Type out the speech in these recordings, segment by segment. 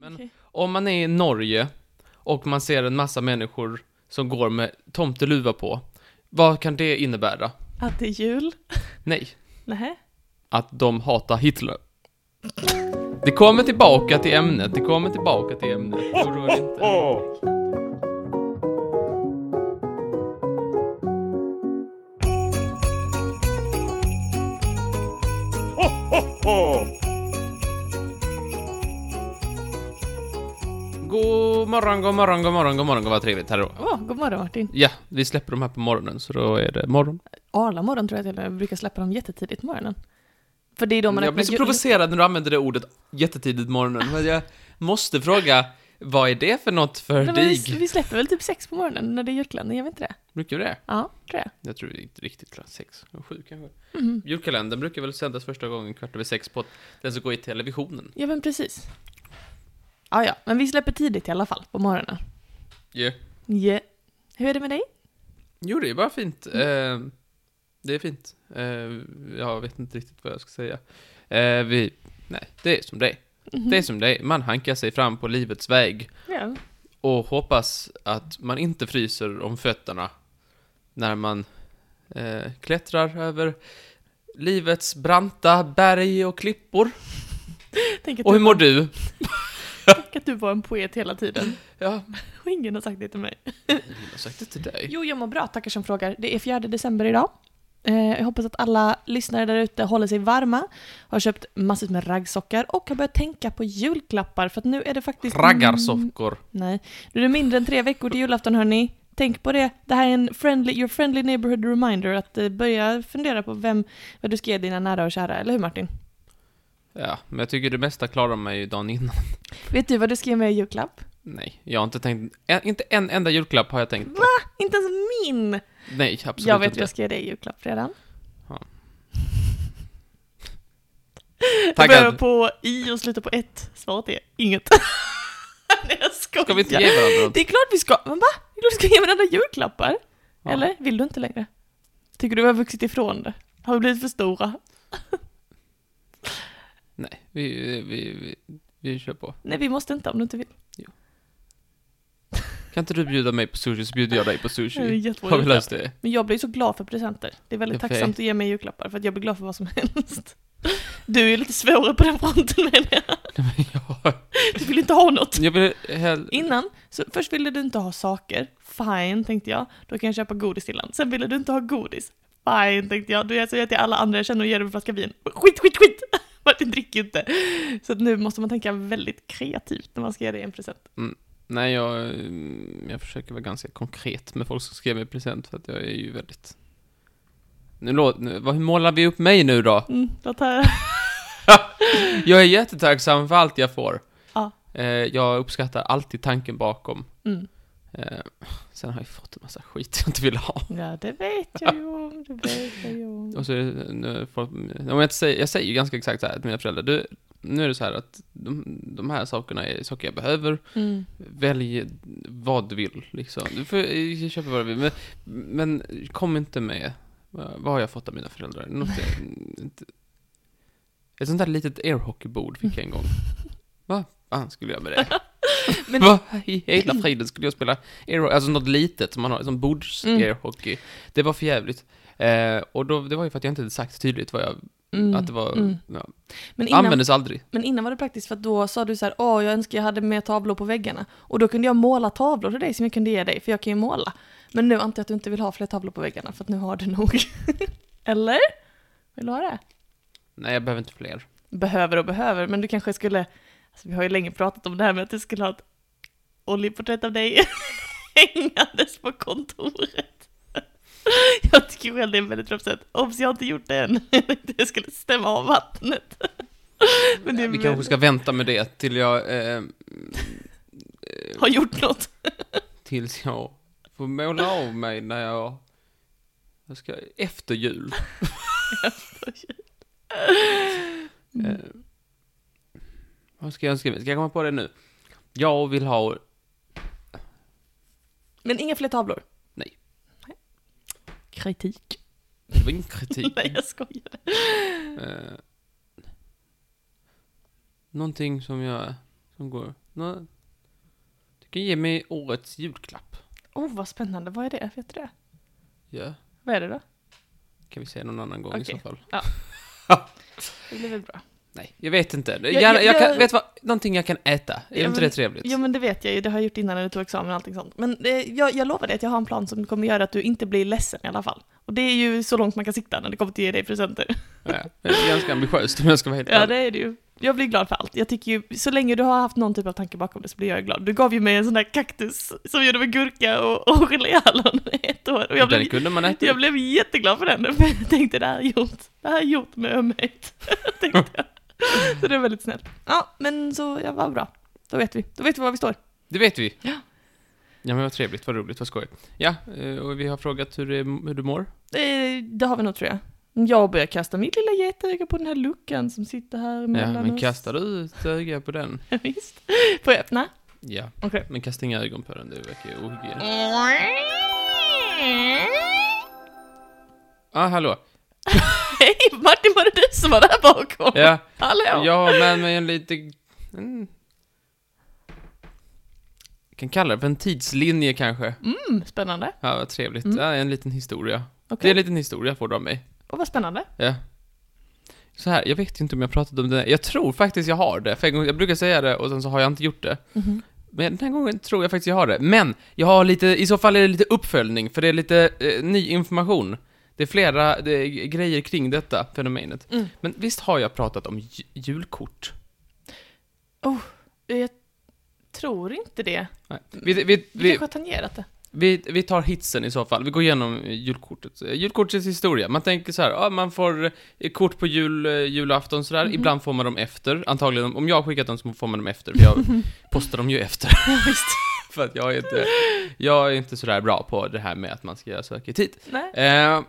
Men om man är i Norge och man ser en massa människor som går med tomteluva på, vad kan det innebära? Att det är jul? Nej, Nej. att de hatar Hitler. Det kommer tillbaka till ämnet, det kommer tillbaka till ämnet. Oroa dig inte. God morgon, god morgon, god morgon, god morgon, god vad trevligt. Här Åh, god morgon Martin. Ja, vi släpper de här på morgonen, så då är det morgon. Arla morgon tror jag till och med. Jag brukar släppa dem jättetidigt på morgonen. För det är då man Jag blir så jul- provocerad när du använder det ordet jättetidigt på morgonen, men jag måste fråga, vad är det för något för Nej, men dig? vi, vi släpper väl typ sex på morgonen när det är julkalender, gör vi inte det? Brukar du det? Ja, tror jag. Jag tror inte riktigt klart sex, eller sju kanske. Mhm. Julkalendern brukar väl sändas första gången kvart över sex på den som går i televisionen. Ja, men precis. Ja, ja, men vi släpper tidigt i alla fall på morgonen. Yeah. Yeah. Hur är det med dig? Jo, det är bara fint. Mm. Eh, det är fint. Eh, jag vet inte riktigt vad jag ska säga. Eh, vi, nej, det är som det är. Det Mm-hmm. är som det är. Man hankar sig fram på livets väg Ja. och hoppas att man inte fryser om fötterna när man eh, klättrar över livets branta berg och klippor. Tänk, att Och hur du, mår du? tänk att du var en poet hela tiden. Ja, Och ingen har sagt det till mig. jag har sagt det till dig. Jo, jag mår bra, tackar som frågar. Det är 4 december idag. Eh, jag hoppas att alla lyssnare där ute håller sig varma, har köpt massor med raggsockar och har börjat tänka på julklappar för att nu är det faktiskt... Raggarsockor. Nej, nu är det mindre än tre veckor till julafton hörni. Tänk på det. Det här är en friendly, your friendly neighborhood reminder att eh, börja fundera på vem, vad du ska ge dina nära och kära, eller hur Martin? Ja, men jag tycker det mesta klarar man ju dagen innan. Vet du vad du ska ge mig i julklapp? Nej, jag har inte tänkt, en, inte en enda julklapp har jag tänkt på. Inte ens min! Nej, absolut jag vet vad inte. jag ska ge dig i julklapp redan. Ja. Jag börjar Taggad. på i och slutar på ett. Svaret är inget. Nej, jag skojar. Ska vi inte ge varandra något? Det är klart vi ska. Men va? Det är klart vi ska ge varandra julklappar. Ja. Eller? Vill du inte längre? Tycker du vi har vuxit ifrån det? Har vi blivit för stora? Nej, vi, vi, vi, vi kör på. Nej, vi måste inte om du inte vill. Kan inte du bjuda mig på sushi så bjuder jag dig på Det är sushi. jättebra Har vi julklapp. löst det? Men jag blir så glad för presenter. Det är väldigt Det är fint. tacksamt att ge mig julklappar för att jag blir glad för vad som helst. Du är ju lite svårare på den fronten menar jag. Ja. Du vill inte ha något. Jag vill hell... Innan, så först ville du inte ha saker, fine tänkte jag, då kan jag köpa godis till honom. Sen ville du inte ha godis, fine tänkte jag, då ger jag till alla andra jag känner och ger dem en flaska vin. Skit, skit, skit! Martin dricker ju inte. Så att nu måste man tänka väldigt kreativt när man ska ge dig en present. Nej, jag, mm, jag försöker vara ganska konkret med folk som ska ge mig present för att jag är ju väldigt... Nu låt, nu, vad, hur målar vi upp mig nu då? Mm, låt här. Jag är jättetacksam för allt jag får. Ja. Eh, jag uppskattar alltid tanken bakom. Mm. Eh, sen har jag fått en massa skit jag inte vill ha. Ja, det vet jag ju om, det vet jag ju om. Och så är det, nu, folk, om jag, inte säger, jag säger ju ganska exakt så här till mina föräldrar. Du, nu är det så här att de, de här sakerna är saker jag behöver. Mm. Välj vad du vill, liksom. Du får eh, köpa vad du vill. Men, men kom inte med, eh, vad har jag fått av mina föräldrar? Något, jag inte, ett sånt där litet airhockeybord fick jag en gång. Va? Fan skulle jag med det? Men- Va? I hela friden skulle jag spela airhockey? Alltså något litet som man har, som bords Mm. airhockey. Det var för jävligt. Eh, och då, det var ju för att jag inte hade sagt tydligt vad jag, Mm. att det var, Mm. ja, Men innan, användes aldrig. Men innan var det praktiskt för att då sa du så här, åh jag önskar jag hade mer tavlor på väggarna. Och då kunde jag måla tavlor till dig som jag kunde ge dig, för jag kan ju måla. Men nu antar jag att du inte vill ha fler tavlor på väggarna, för att nu har du nog. Eller? Vill du ha det? Nej, jag behöver inte fler. Behöver och behöver, men du kanske skulle, alltså vi har ju länge pratat om det här med att du skulle ha ett oljeporträtt av dig hängandes på kontoret. Jag tycker själv det är väldigt roligt. Obs, jag har inte gjort det än. Jag tänkte jag skulle stämma av vattnet. Men det är Vi väl- kanske ska vänta med det till jag... Eh, har gjort något. Tills jag får måla av mig när jag... jag ska, efter jul. Eh, vad ska jag önska mig? Ska jag komma på det nu? Jag vill ha... Men inga fler tavlor? Nej. Nej. Kritik? Det var ingen kritik. Nej, jag skojar. Eh, någonting som jag... Som går... Nå, du kan ge mig årets julklapp. Oh, vad spännande. Vad är det? Vet du det? Ja, Vad är det då? kan vi säga någon annan gång i Okej. så fall. Det blir väl bra. Nej, jag vet inte. Jag, jag- jag, kan, jag- vet vad? Någonting jag kan äta. Är Ja, inte men- det trevligt? Jo, men det vet jag ju. Det har jag gjort innan när du tog examen och allting sånt. Men eh, jag, jag lovar dig att jag har en plan som kommer göra att du inte blir ledsen i alla fall. Och det är ju så långt man kan sikta när det kommer till att ge dig presenter. Ja, det är ganska ambitiöst om jag ska vara helt Ja, det ärlig. är det ju. Jag blir glad för allt. Jag tycker ju, så länge du har haft någon typ av tanke bakom det så blir jag glad. Du gav ju mig en sån där kaktus som gjorde med gurka och, och geléhallon i ett år. Och jag Den blev, kunde man äta. jag blev jätteglad för den, för jag tänkte det här är gjort. Det här är gjort med ömhet. tänkte jag. Så det är väldigt snällt. Ja, men så, ja, vad bra. Då vet vi. Då vet vi var vi står. Det vet vi. Ja. Ja, men vad trevligt, vad roligt, vad skoj. Ja, eh, och vi har frågat hur, det- hur du mår. Eh, Det har vi nog, tror jag. Jag börjar kasta mitt lilla getöga på den här luckan som sitter här Ja, mellan men oss. kastar du ett öga på den? Visst. Får jag öppna? Ja, Okej. men kasta inga ögon på den, det verkar ju ohygieniskt. Ah, hallå. Hej Martin, var det du som var där bakom? Ja, Hallå? jag har med mig en lite... Mm. Jag kan kalla det för en tidslinje kanske. Mm, spännande. Ja, vad trevligt. Mm. Ja, en liten historia. Det Okej. är en liten historia får du av mig. Och vad spännande. Ja. Så här, jag vet ju inte om jag pratat om det. Jag tror faktiskt jag har det. För en gång, jag brukar säga det och sen så har jag inte gjort det. Mm-hmm. Men den här gången tror jag faktiskt jag har det. Men jag har lite, i så fall är det lite uppföljning, för det är lite eh, ny information. Det är flera det är grejer kring detta fenomenet. Mm. Men visst har jag pratat om ju- julkort? Jag tror inte det. Nej. Vi, vi, Vi vi, kanske har tangerat det. vi, vi tar hitsen i så fall. Vi går igenom eh, julkortet. Eh, Julkortets historia. Man tänker så här, ja, man får eh, kort på jul, eh, julafton sådär. Mhm. Ibland får man dem efter. Antagligen, om jag har skickat dem så får man dem efter. För jag postar dem ju efter. för att jag är inte, jag är inte sådär bra på det här med att man ska söka i tid. Nej. Ehm,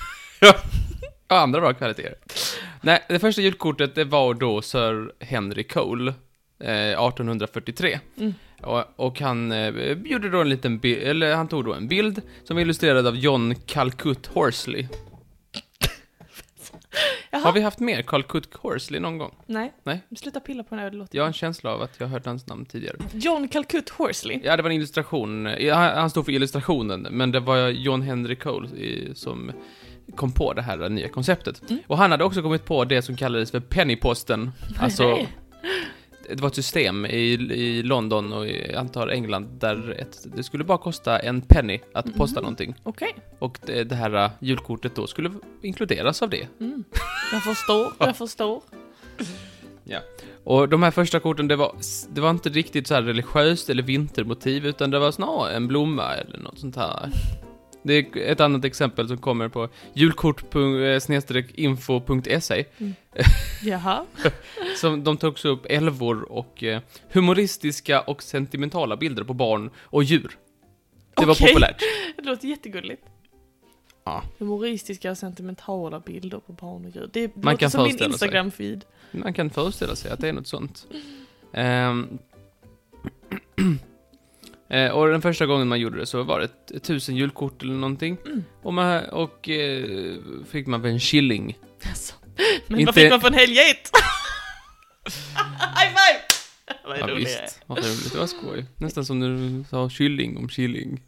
ja, andra bra kvaliteter. Nej, det första julkortet det var då Sir Henry Cole, eh, 1843. Mm. Och, och han eh, gjorde då en liten bi- eller han tog då en bild som är illustrerad av John Calcutt Horsley. Jaha. Har vi haft mer Calcutt Horsley någon gång? Nej. Nej. Sluta pilla på den här, det låter... Jag har en känsla av att jag har hört hans namn tidigare. John Calcutt Horsley. Ja, det var en illustration. Ja, Han han stod för illustrationen, men det var John Henry Cole i- som kom på det här nya konceptet. Mm. Och han hade också kommit på det som kallades för pennyposten. Alltså, Nej. det var ett system i, i London och i, jag antar England där ett, det skulle bara kosta en penny att posta Mhm. någonting. Okej. Och det, det här eh, julkortet då skulle inkluderas av det. Mm. Jag förstår, jag förstår. Och de här första korten, det var, det var inte riktigt så här religiöst eller vintermotiv, utan det var snarare en blomma eller något sånt här. Det är ett annat exempel som kommer på eh, julkort.info.se, Jaha. som de tog också upp älvor och eh, humoristiska och sentimentala bilder på barn och djur. Det var Okej. populärt. Det låter jättegulligt. Ja. Humoristiska och sentimentala bilder på barn och djur. Det, det Man låter kan som min föreställa sig. Instagram-feed. Man kan föreställa sig att det är något sånt. Ehm. Eh, och den första gången man gjorde det så var det ett tusen julkort eller någonting. Mm. Och, man, och eh, fick man väl en shilling. Alltså. Men Inte- vad fick man från helgate? High five! Ja, Vad är roligare? visst. Vad roligt, det var skoj. Nästan som när du sa kylling om killing.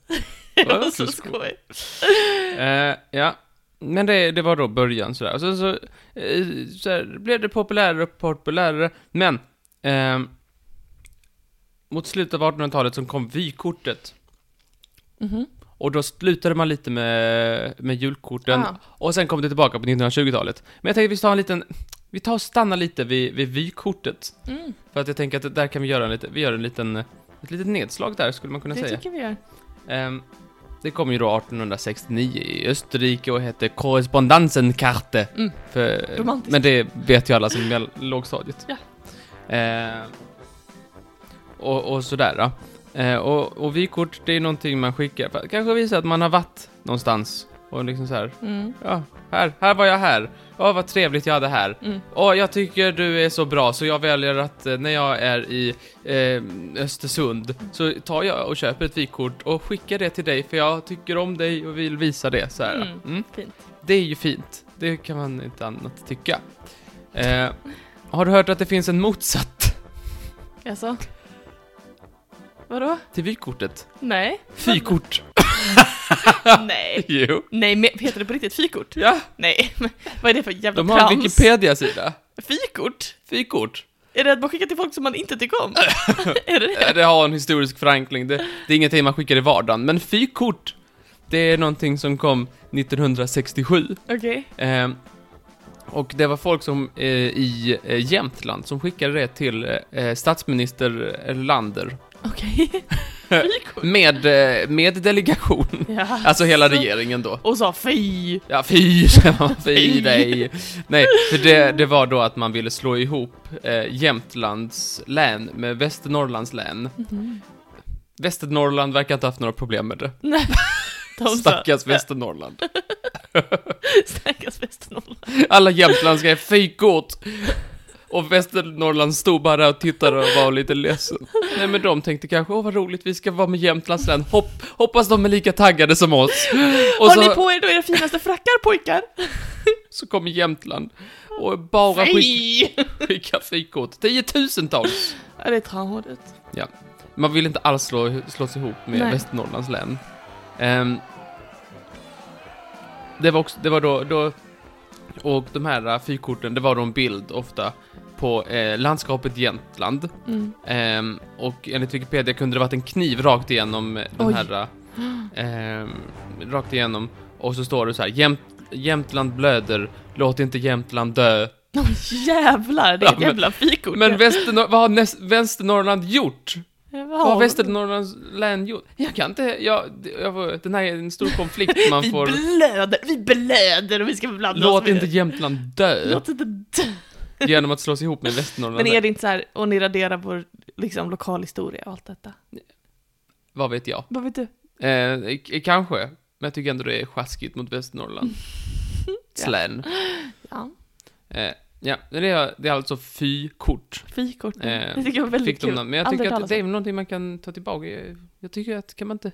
Det Vad var så kul skoj. skoj. Eh, ja. Men det, det var då början sådär. Och sen så, eh, så här, blev det populärare och populärare. Men, ehm, mot slutet av 1800-talet så kom vykortet. Mhm. Och då slutade man lite med, med julkorten. Ah. Och sen kom det tillbaka på 1920-talet. Men jag tänkte vi tar en liten, vi tar och stannar lite vid, vid vykortet. Mm, För att jag tänker att det där kan vi göra en liten, vi gör en liten, ett litet nedslag där skulle man kunna det säga. tycker vi gör. Ehm, det kom ju då 1869 i Österrike och hette Korrespondensenkarte. Mm. För, Romantiskt. men det vet ju alla som är lågstadiet. Ja. Ehm, och, och sådär. Då. Eh, och, och vykort, det är någonting man skickar för att kanske visa att man har varit någonstans. Och liksom så här, Mm. ja, här, här var jag här. Åh, vad trevligt jag hade här. Mm. Åh, jag tycker du är så bra så jag väljer att eh, när jag är i eh, Östersund så tar jag och köper ett vykort och skickar det till dig för jag tycker om dig och vill visa det så här. Mm. Mm. Fint. Det är ju fint. Det kan man inte annat tycka. Eh, har du hört att det finns en motsatt Alltså, Vadå? Till vykortet. Nej. Fykort. Nej. Jo. Nej, men heter det på riktigt fikort? Ja, Nej, men vad är det för jävla de har en trams? Wikipedia-sida. Fikort? Fikort. Är det att man skickar till folk som man inte tycker om? är det det? Ja, Eh, Det har en historisk förankring. Det, det är ingenting man skickar i vardagen. Men fykort, det är någonting som kom 1967. Okej. Eh, och det var folk som eh, i eh, Jämtland som skickade det till eh, statsminister Erlander. Okej. Fikort? Med, eh, med delegation. Ja. Alltså hela regeringen då. Och sa fy. Ja, fy, säger man, fy Fy. dig. Nej, för det, det var då att man ville slå ihop eh, Jämtlands län med Västernorrlands län. Västernorrland verkar inte ha haft några problem med det. Nej. De sa- Stackars Västernorrland. Stackars Västernorrland. Alla jämtländska är fikort. Och Västernorrland stod bara där och tittade och var lite ledsen. Nej men de tänkte kanske, åh vad roligt, vi ska vara med Jämtlands län. Hopp, hoppas de är lika taggade som oss. Och Har så, ni på er då era finaste frackar pojkar? så kommer Jämtland och bara skick, Fy! skicka fikort. Tiotusentals. Ja, det är trångmålet. Man vill inte alls slå, slås ihop med Nej. Västernorrlands län. Ehm, det var också, det var då, då och de här äh, fyrkorten, det var då en bild ofta på eh, landskapet Jämtland. Mm. Ehm, och enligt Wikipedia kunde det varit en kniv rakt igenom eh, den Oj. här... ehm, rakt igenom. Och så står det så här, Jämt, Jämtland blöder, låt inte Jämtland dö. Åh, jävlar, det är Ja, ett men- jävla fikort. Men Västernor- vad har näst, Västernorrland gjort? Ja, vad Vad har de? Västernorrlands län gjort? Jag kan inte, jag, det- jag, får- den här är en stor konflikt man Vi får... blöder, vi blöder och vi ska blanda oss Låt med inte det. Jämtland dö Låt inte dö. genom att slås ihop med Västernorrland. Men är det inte så här, och ni raderar vår liksom, lokalhistoria och allt detta? Vad vet jag? Vad vet du? Eh, k- kanske. Men jag tycker ändå det är sjaskigt mot Västernorrland. Ja. Län. Ja, Eh, ja, men det är, det är alltså fy-kort. fikort. Eh, Mm. det tycker jag var väldigt Fick de kul. namn. Men jag Aldrig tycker att talas det är om. någonting man kan ta tillbaka. Jag- Jag tycker att, kan man inte...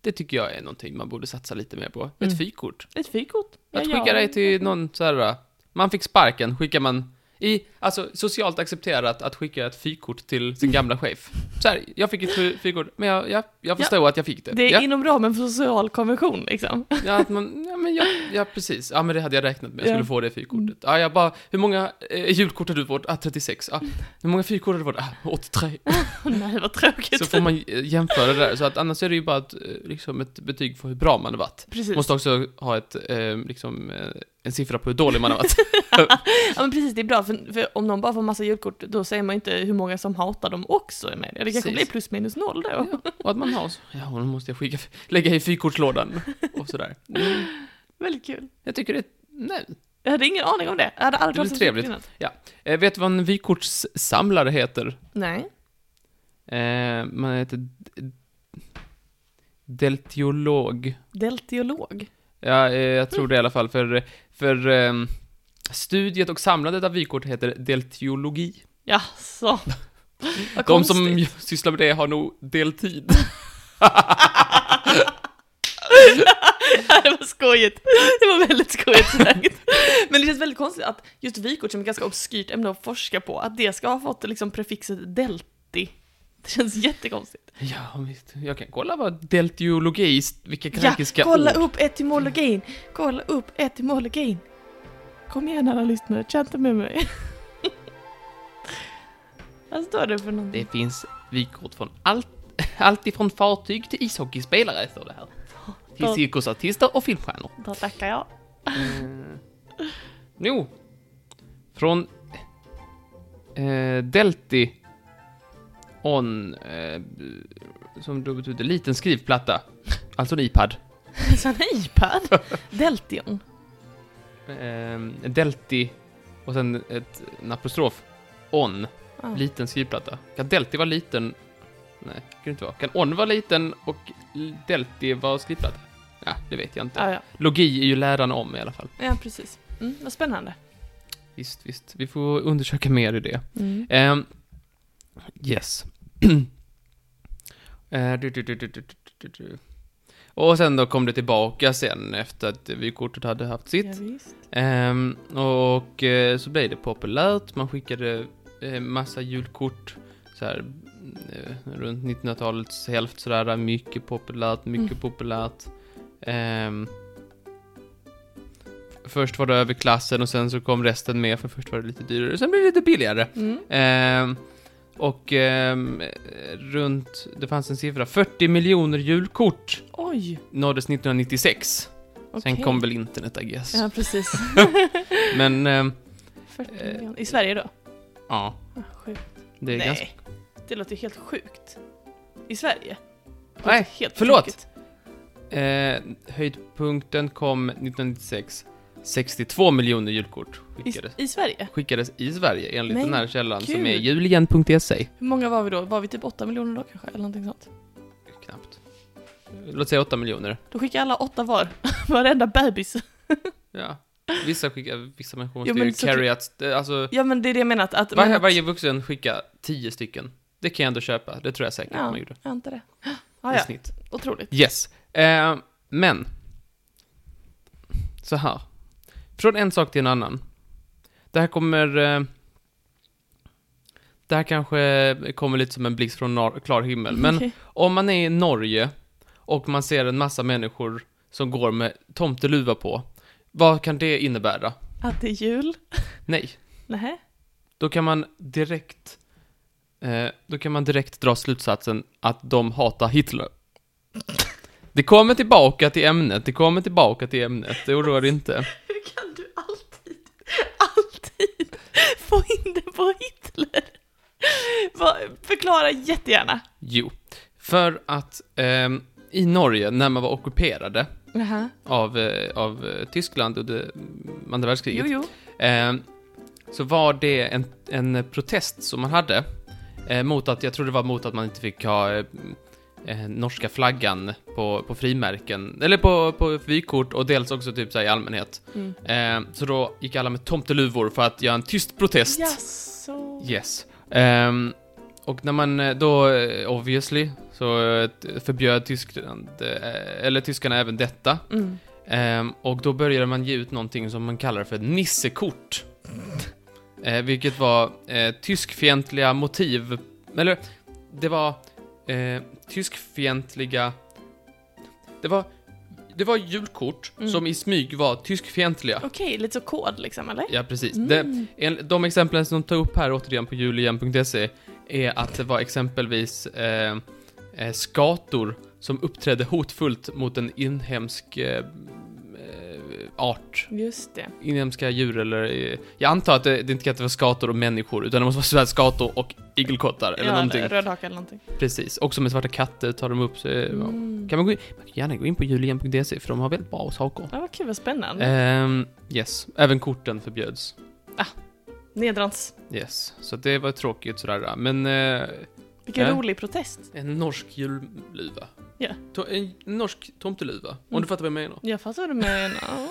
Det tycker jag är någonting man borde satsa lite mer på. Ett Mm. fykort. Ett fikort. Att skicka dig till någon så här... Man fick sparken, skickar man... I, alltså socialt accepterat att skicka ett fykort till sin gamla chef. Så här, jag fick ett fy- fykort, men jag, jag, jag Ja. förstår att jag fick det. Det är ja, inom ramen för social konvention liksom. ja, att man, ja, men jag, ja, precis. Ja, men det hade jag räknat med. Jag Ja. Mm. skulle få det fykortet. Ja, jag bara, hur många eh, julkort har du fått? Ah, 36. Ah, hur många fyrkort har du fått? Ah, 83. Åh nej, vad tråkigt. Så får man eh, jämföra det där. Så att annars är det ju bara ett, eh, liksom ett betyg för hur bra man har varit. Precis. Måste också ha ett, eh, liksom, eh, en siffra på hur dålig man har varit. Ja men precis, det är bra, för, för om någon bara får massa julkort, då säger man ju inte hur många som hatar dem också är med. Det kanske Precis. blir plus minus noll då. Ja, och att man har så, ja, och då måste jag skicka, lägga i fykortslådan och sådär. Mm. Väldigt kul. Jag tycker det, nej. Jag hade ingen aning om det. Jag hade aldrig Det blir hört om trevligt. innan. Eh, vet du vad en vykortssamlare heter? Nej. Eh, man heter d- deltiolog. Deltiolog. Ja, eh, jag tror det i alla fall, för, för ehm, studiet och samlandet av vykort heter deltiologi. Jaså. Vad De konstigt. som sysslar med det har nog deltid. Ja, det var skojigt. Det var väldigt skojigt sagt. Men det känns väldigt konstigt att just vykort som är ett ganska obskyrt ämne att forska på, att det ska ha fått liksom prefixet delti. Det känns jättekonstigt. Ja, visst. Jag kan kolla vad deltiologi, vilka Ja, grekiska kolla ord. upp etymologin! Kolla upp etymologin! Kom igen alla lyssnare, chatta med mig. Vad står det för någonting? Det finns vykort från allt, allt ifrån fartyg till ishockeyspelare, står det här. Till Ja. cirkusartister och filmstjärnor. Då tackar jag. Eh, Jo. Från eh, delti on, eh, som då betyder liten skrivplatta. Alltså en iPad. Så en iPad? Deltion? eh, Delti och sen ett, en apostrof. On. Ja. Liten skrivplatta. Kan Delti vara liten? Nej, det kan det inte vara. Kan On vara liten och l- Delti vara skrivplatta? Ja, det vet jag inte. Ja, ja. Logi är ju läran om i alla fall. ja precis. Mm, vad spännande. Visst, visst. Vi får undersöka mer i det. Mm. Ehm, yes. Eh, du, du, du, du, du, du, du, du. Och sen då kom det tillbaka sen efter att vykortet hade haft sitt. Ja, visst. Ehm, och eh, så blev det populärt, man skickade eh, massa julkort, så här, eh, runt 1900-talets hälft sådär, mycket populärt, mycket Mm. populärt. Ehm, först var det överklassen och sen så kom resten med, för först var det lite dyrare, sen blev det lite billigare. Mm. Ehm, och ehm, eh, runt, det fanns en siffra, 40 miljoner julkort Oj, nåddes 1996. okej. Sen kom väl internet, I guess. Ja, precis. Men, ehm, 40 Eh. miljoner. I Sverige då? ja, Ah, sjukt. det är Nej, ganska... det låter ju helt sjukt. I Sverige? Det Nej, låter helt förlåt. tokigt. Eh, höjdpunkten kom 1996. 62 miljoner julkort skickades, I, I Sverige? skickades i Sverige enligt Men den här källan som gud. är julgen.se. Hur många var vi då? Var vi typ 8 miljoner då kanske? Eller någonting sånt. Knappt. Låt säga 8 miljoner. Då skickade alla åtta var. Varenda bebis. Ja. Vissa, skickar, vissa människor måste Jo, men ju så- carry att, eh, alltså, Ja men det är det jag menar att... att, men varje, att varje vuxen skickar 10 stycken. Det kan jag ändå köpa, det tror jag säkert Ja. man gjorde. jag antar det. I Ah, ja, snitt. otroligt. Yes. Eh, men. Så här. Från en sak till en annan. Det här kommer... Eh, det här kanske kommer lite som en blixt från nar- klar himmel. Men Okej. om man är i Norge och man ser en massa människor som går med tomteluva på. Vad kan det innebära? Att det är jul? Nej. Nej. Då kan man direkt... Eh, då kan man direkt dra slutsatsen att de hatar Hitler. Det kommer tillbaka till ämnet, det kommer tillbaka till ämnet, det oroar dig inte. Hur kan du alltid, alltid få in det på Hitler? Va, förklara jättegärna. Jo, för att ehm, i Norge, när man var ockuperade Jaha. av, eh, av eh, Tyskland under mm, andra världskriget, Jo, jo. ehm, så var det en, en protest som man hade eh, mot att, jag tror det var mot att man inte fick ha eh, eh, norska flaggan på, på frimärken, eller på, på vykort och dels också typ så här i allmänhet. Mm. Eh, så då gick alla med tomteluvor för att göra en tyst protest. Jaså? Yes. Ehm, och när man eh, då, eh, obviously, så eh, t- förbjöd Tyskland, eh, eller tyskarna även detta. Mm. Ehm, och då började man ge ut någonting som man kallar för nissekort. Eh, vilket var eh, tyskfientliga motiv, eller det var eh, tyskfientliga... Det var, det var julkort Mm. som i smyg var tyskfientliga. Okej, lite så kod liksom, eller? Ja, precis. Mm. Det, en, de exemplen som tar upp här återigen på julien.se är att det var exempelvis eh, eh, skator som uppträdde hotfullt mot en inhemsk eh, eh, art. Just det. Inhemska djur eller... Eh, jag antar att det, det inte kan vara skator och människor, utan det måste vara svärdskator och igelkottar eller ja, någonting. Rödhaka eller någonting. Precis. Också med svarta katter tar de upp sig. Mm. Kan man, gå in, man kan gärna gå in på julien.se för de har väldigt bra saker. Ja, vad kul, vad spännande. Ehm, yes. Även korten förbjöds. Nedrans. Yes, så det var tråkigt sådär. Men eh, Vilken Ja. rolig protest. en norsk julluva. Ja. To- en norsk tomteluva, om Mm. du fattar vad jag menar. Jag fattar vad du menar. Ah.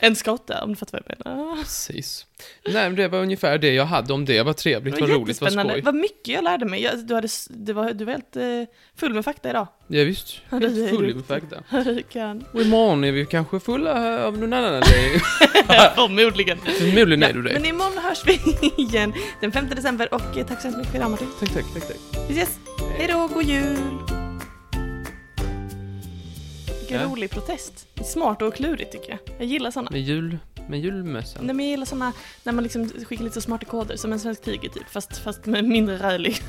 en skotta, om du fattar vad jag menar. Precis. Nej, men det var ungefär det jag hade om det. Det var trevligt, vad roligt, vad Ah. jättespännande. skoj. Vad mycket jag lärde mig. Jag, du, hade, s- det var, du var helt eh, full med fakta idag. Ja, visst. Ja, det Helt är full med riktigt. fakta. Du kan. Och imorgon är vi kanske fulla av någon annan anledning. Förmodligen. Förmodligen är du Men det. imorgon hörs vi igen den 5 december och eh, tack så hemskt mycket för idag Martin. Tack, tack, tack, tack. Vi ses! Hej då, god jul! Vilken Ja. rolig protest. Smart och klurigt tycker jag. Jag gillar såna. Med jul, med julmössan. Nej men jag gillar såna när man liksom skickar lite så smarta koder som en svensk tiger typ fast, fast med mindre rälig.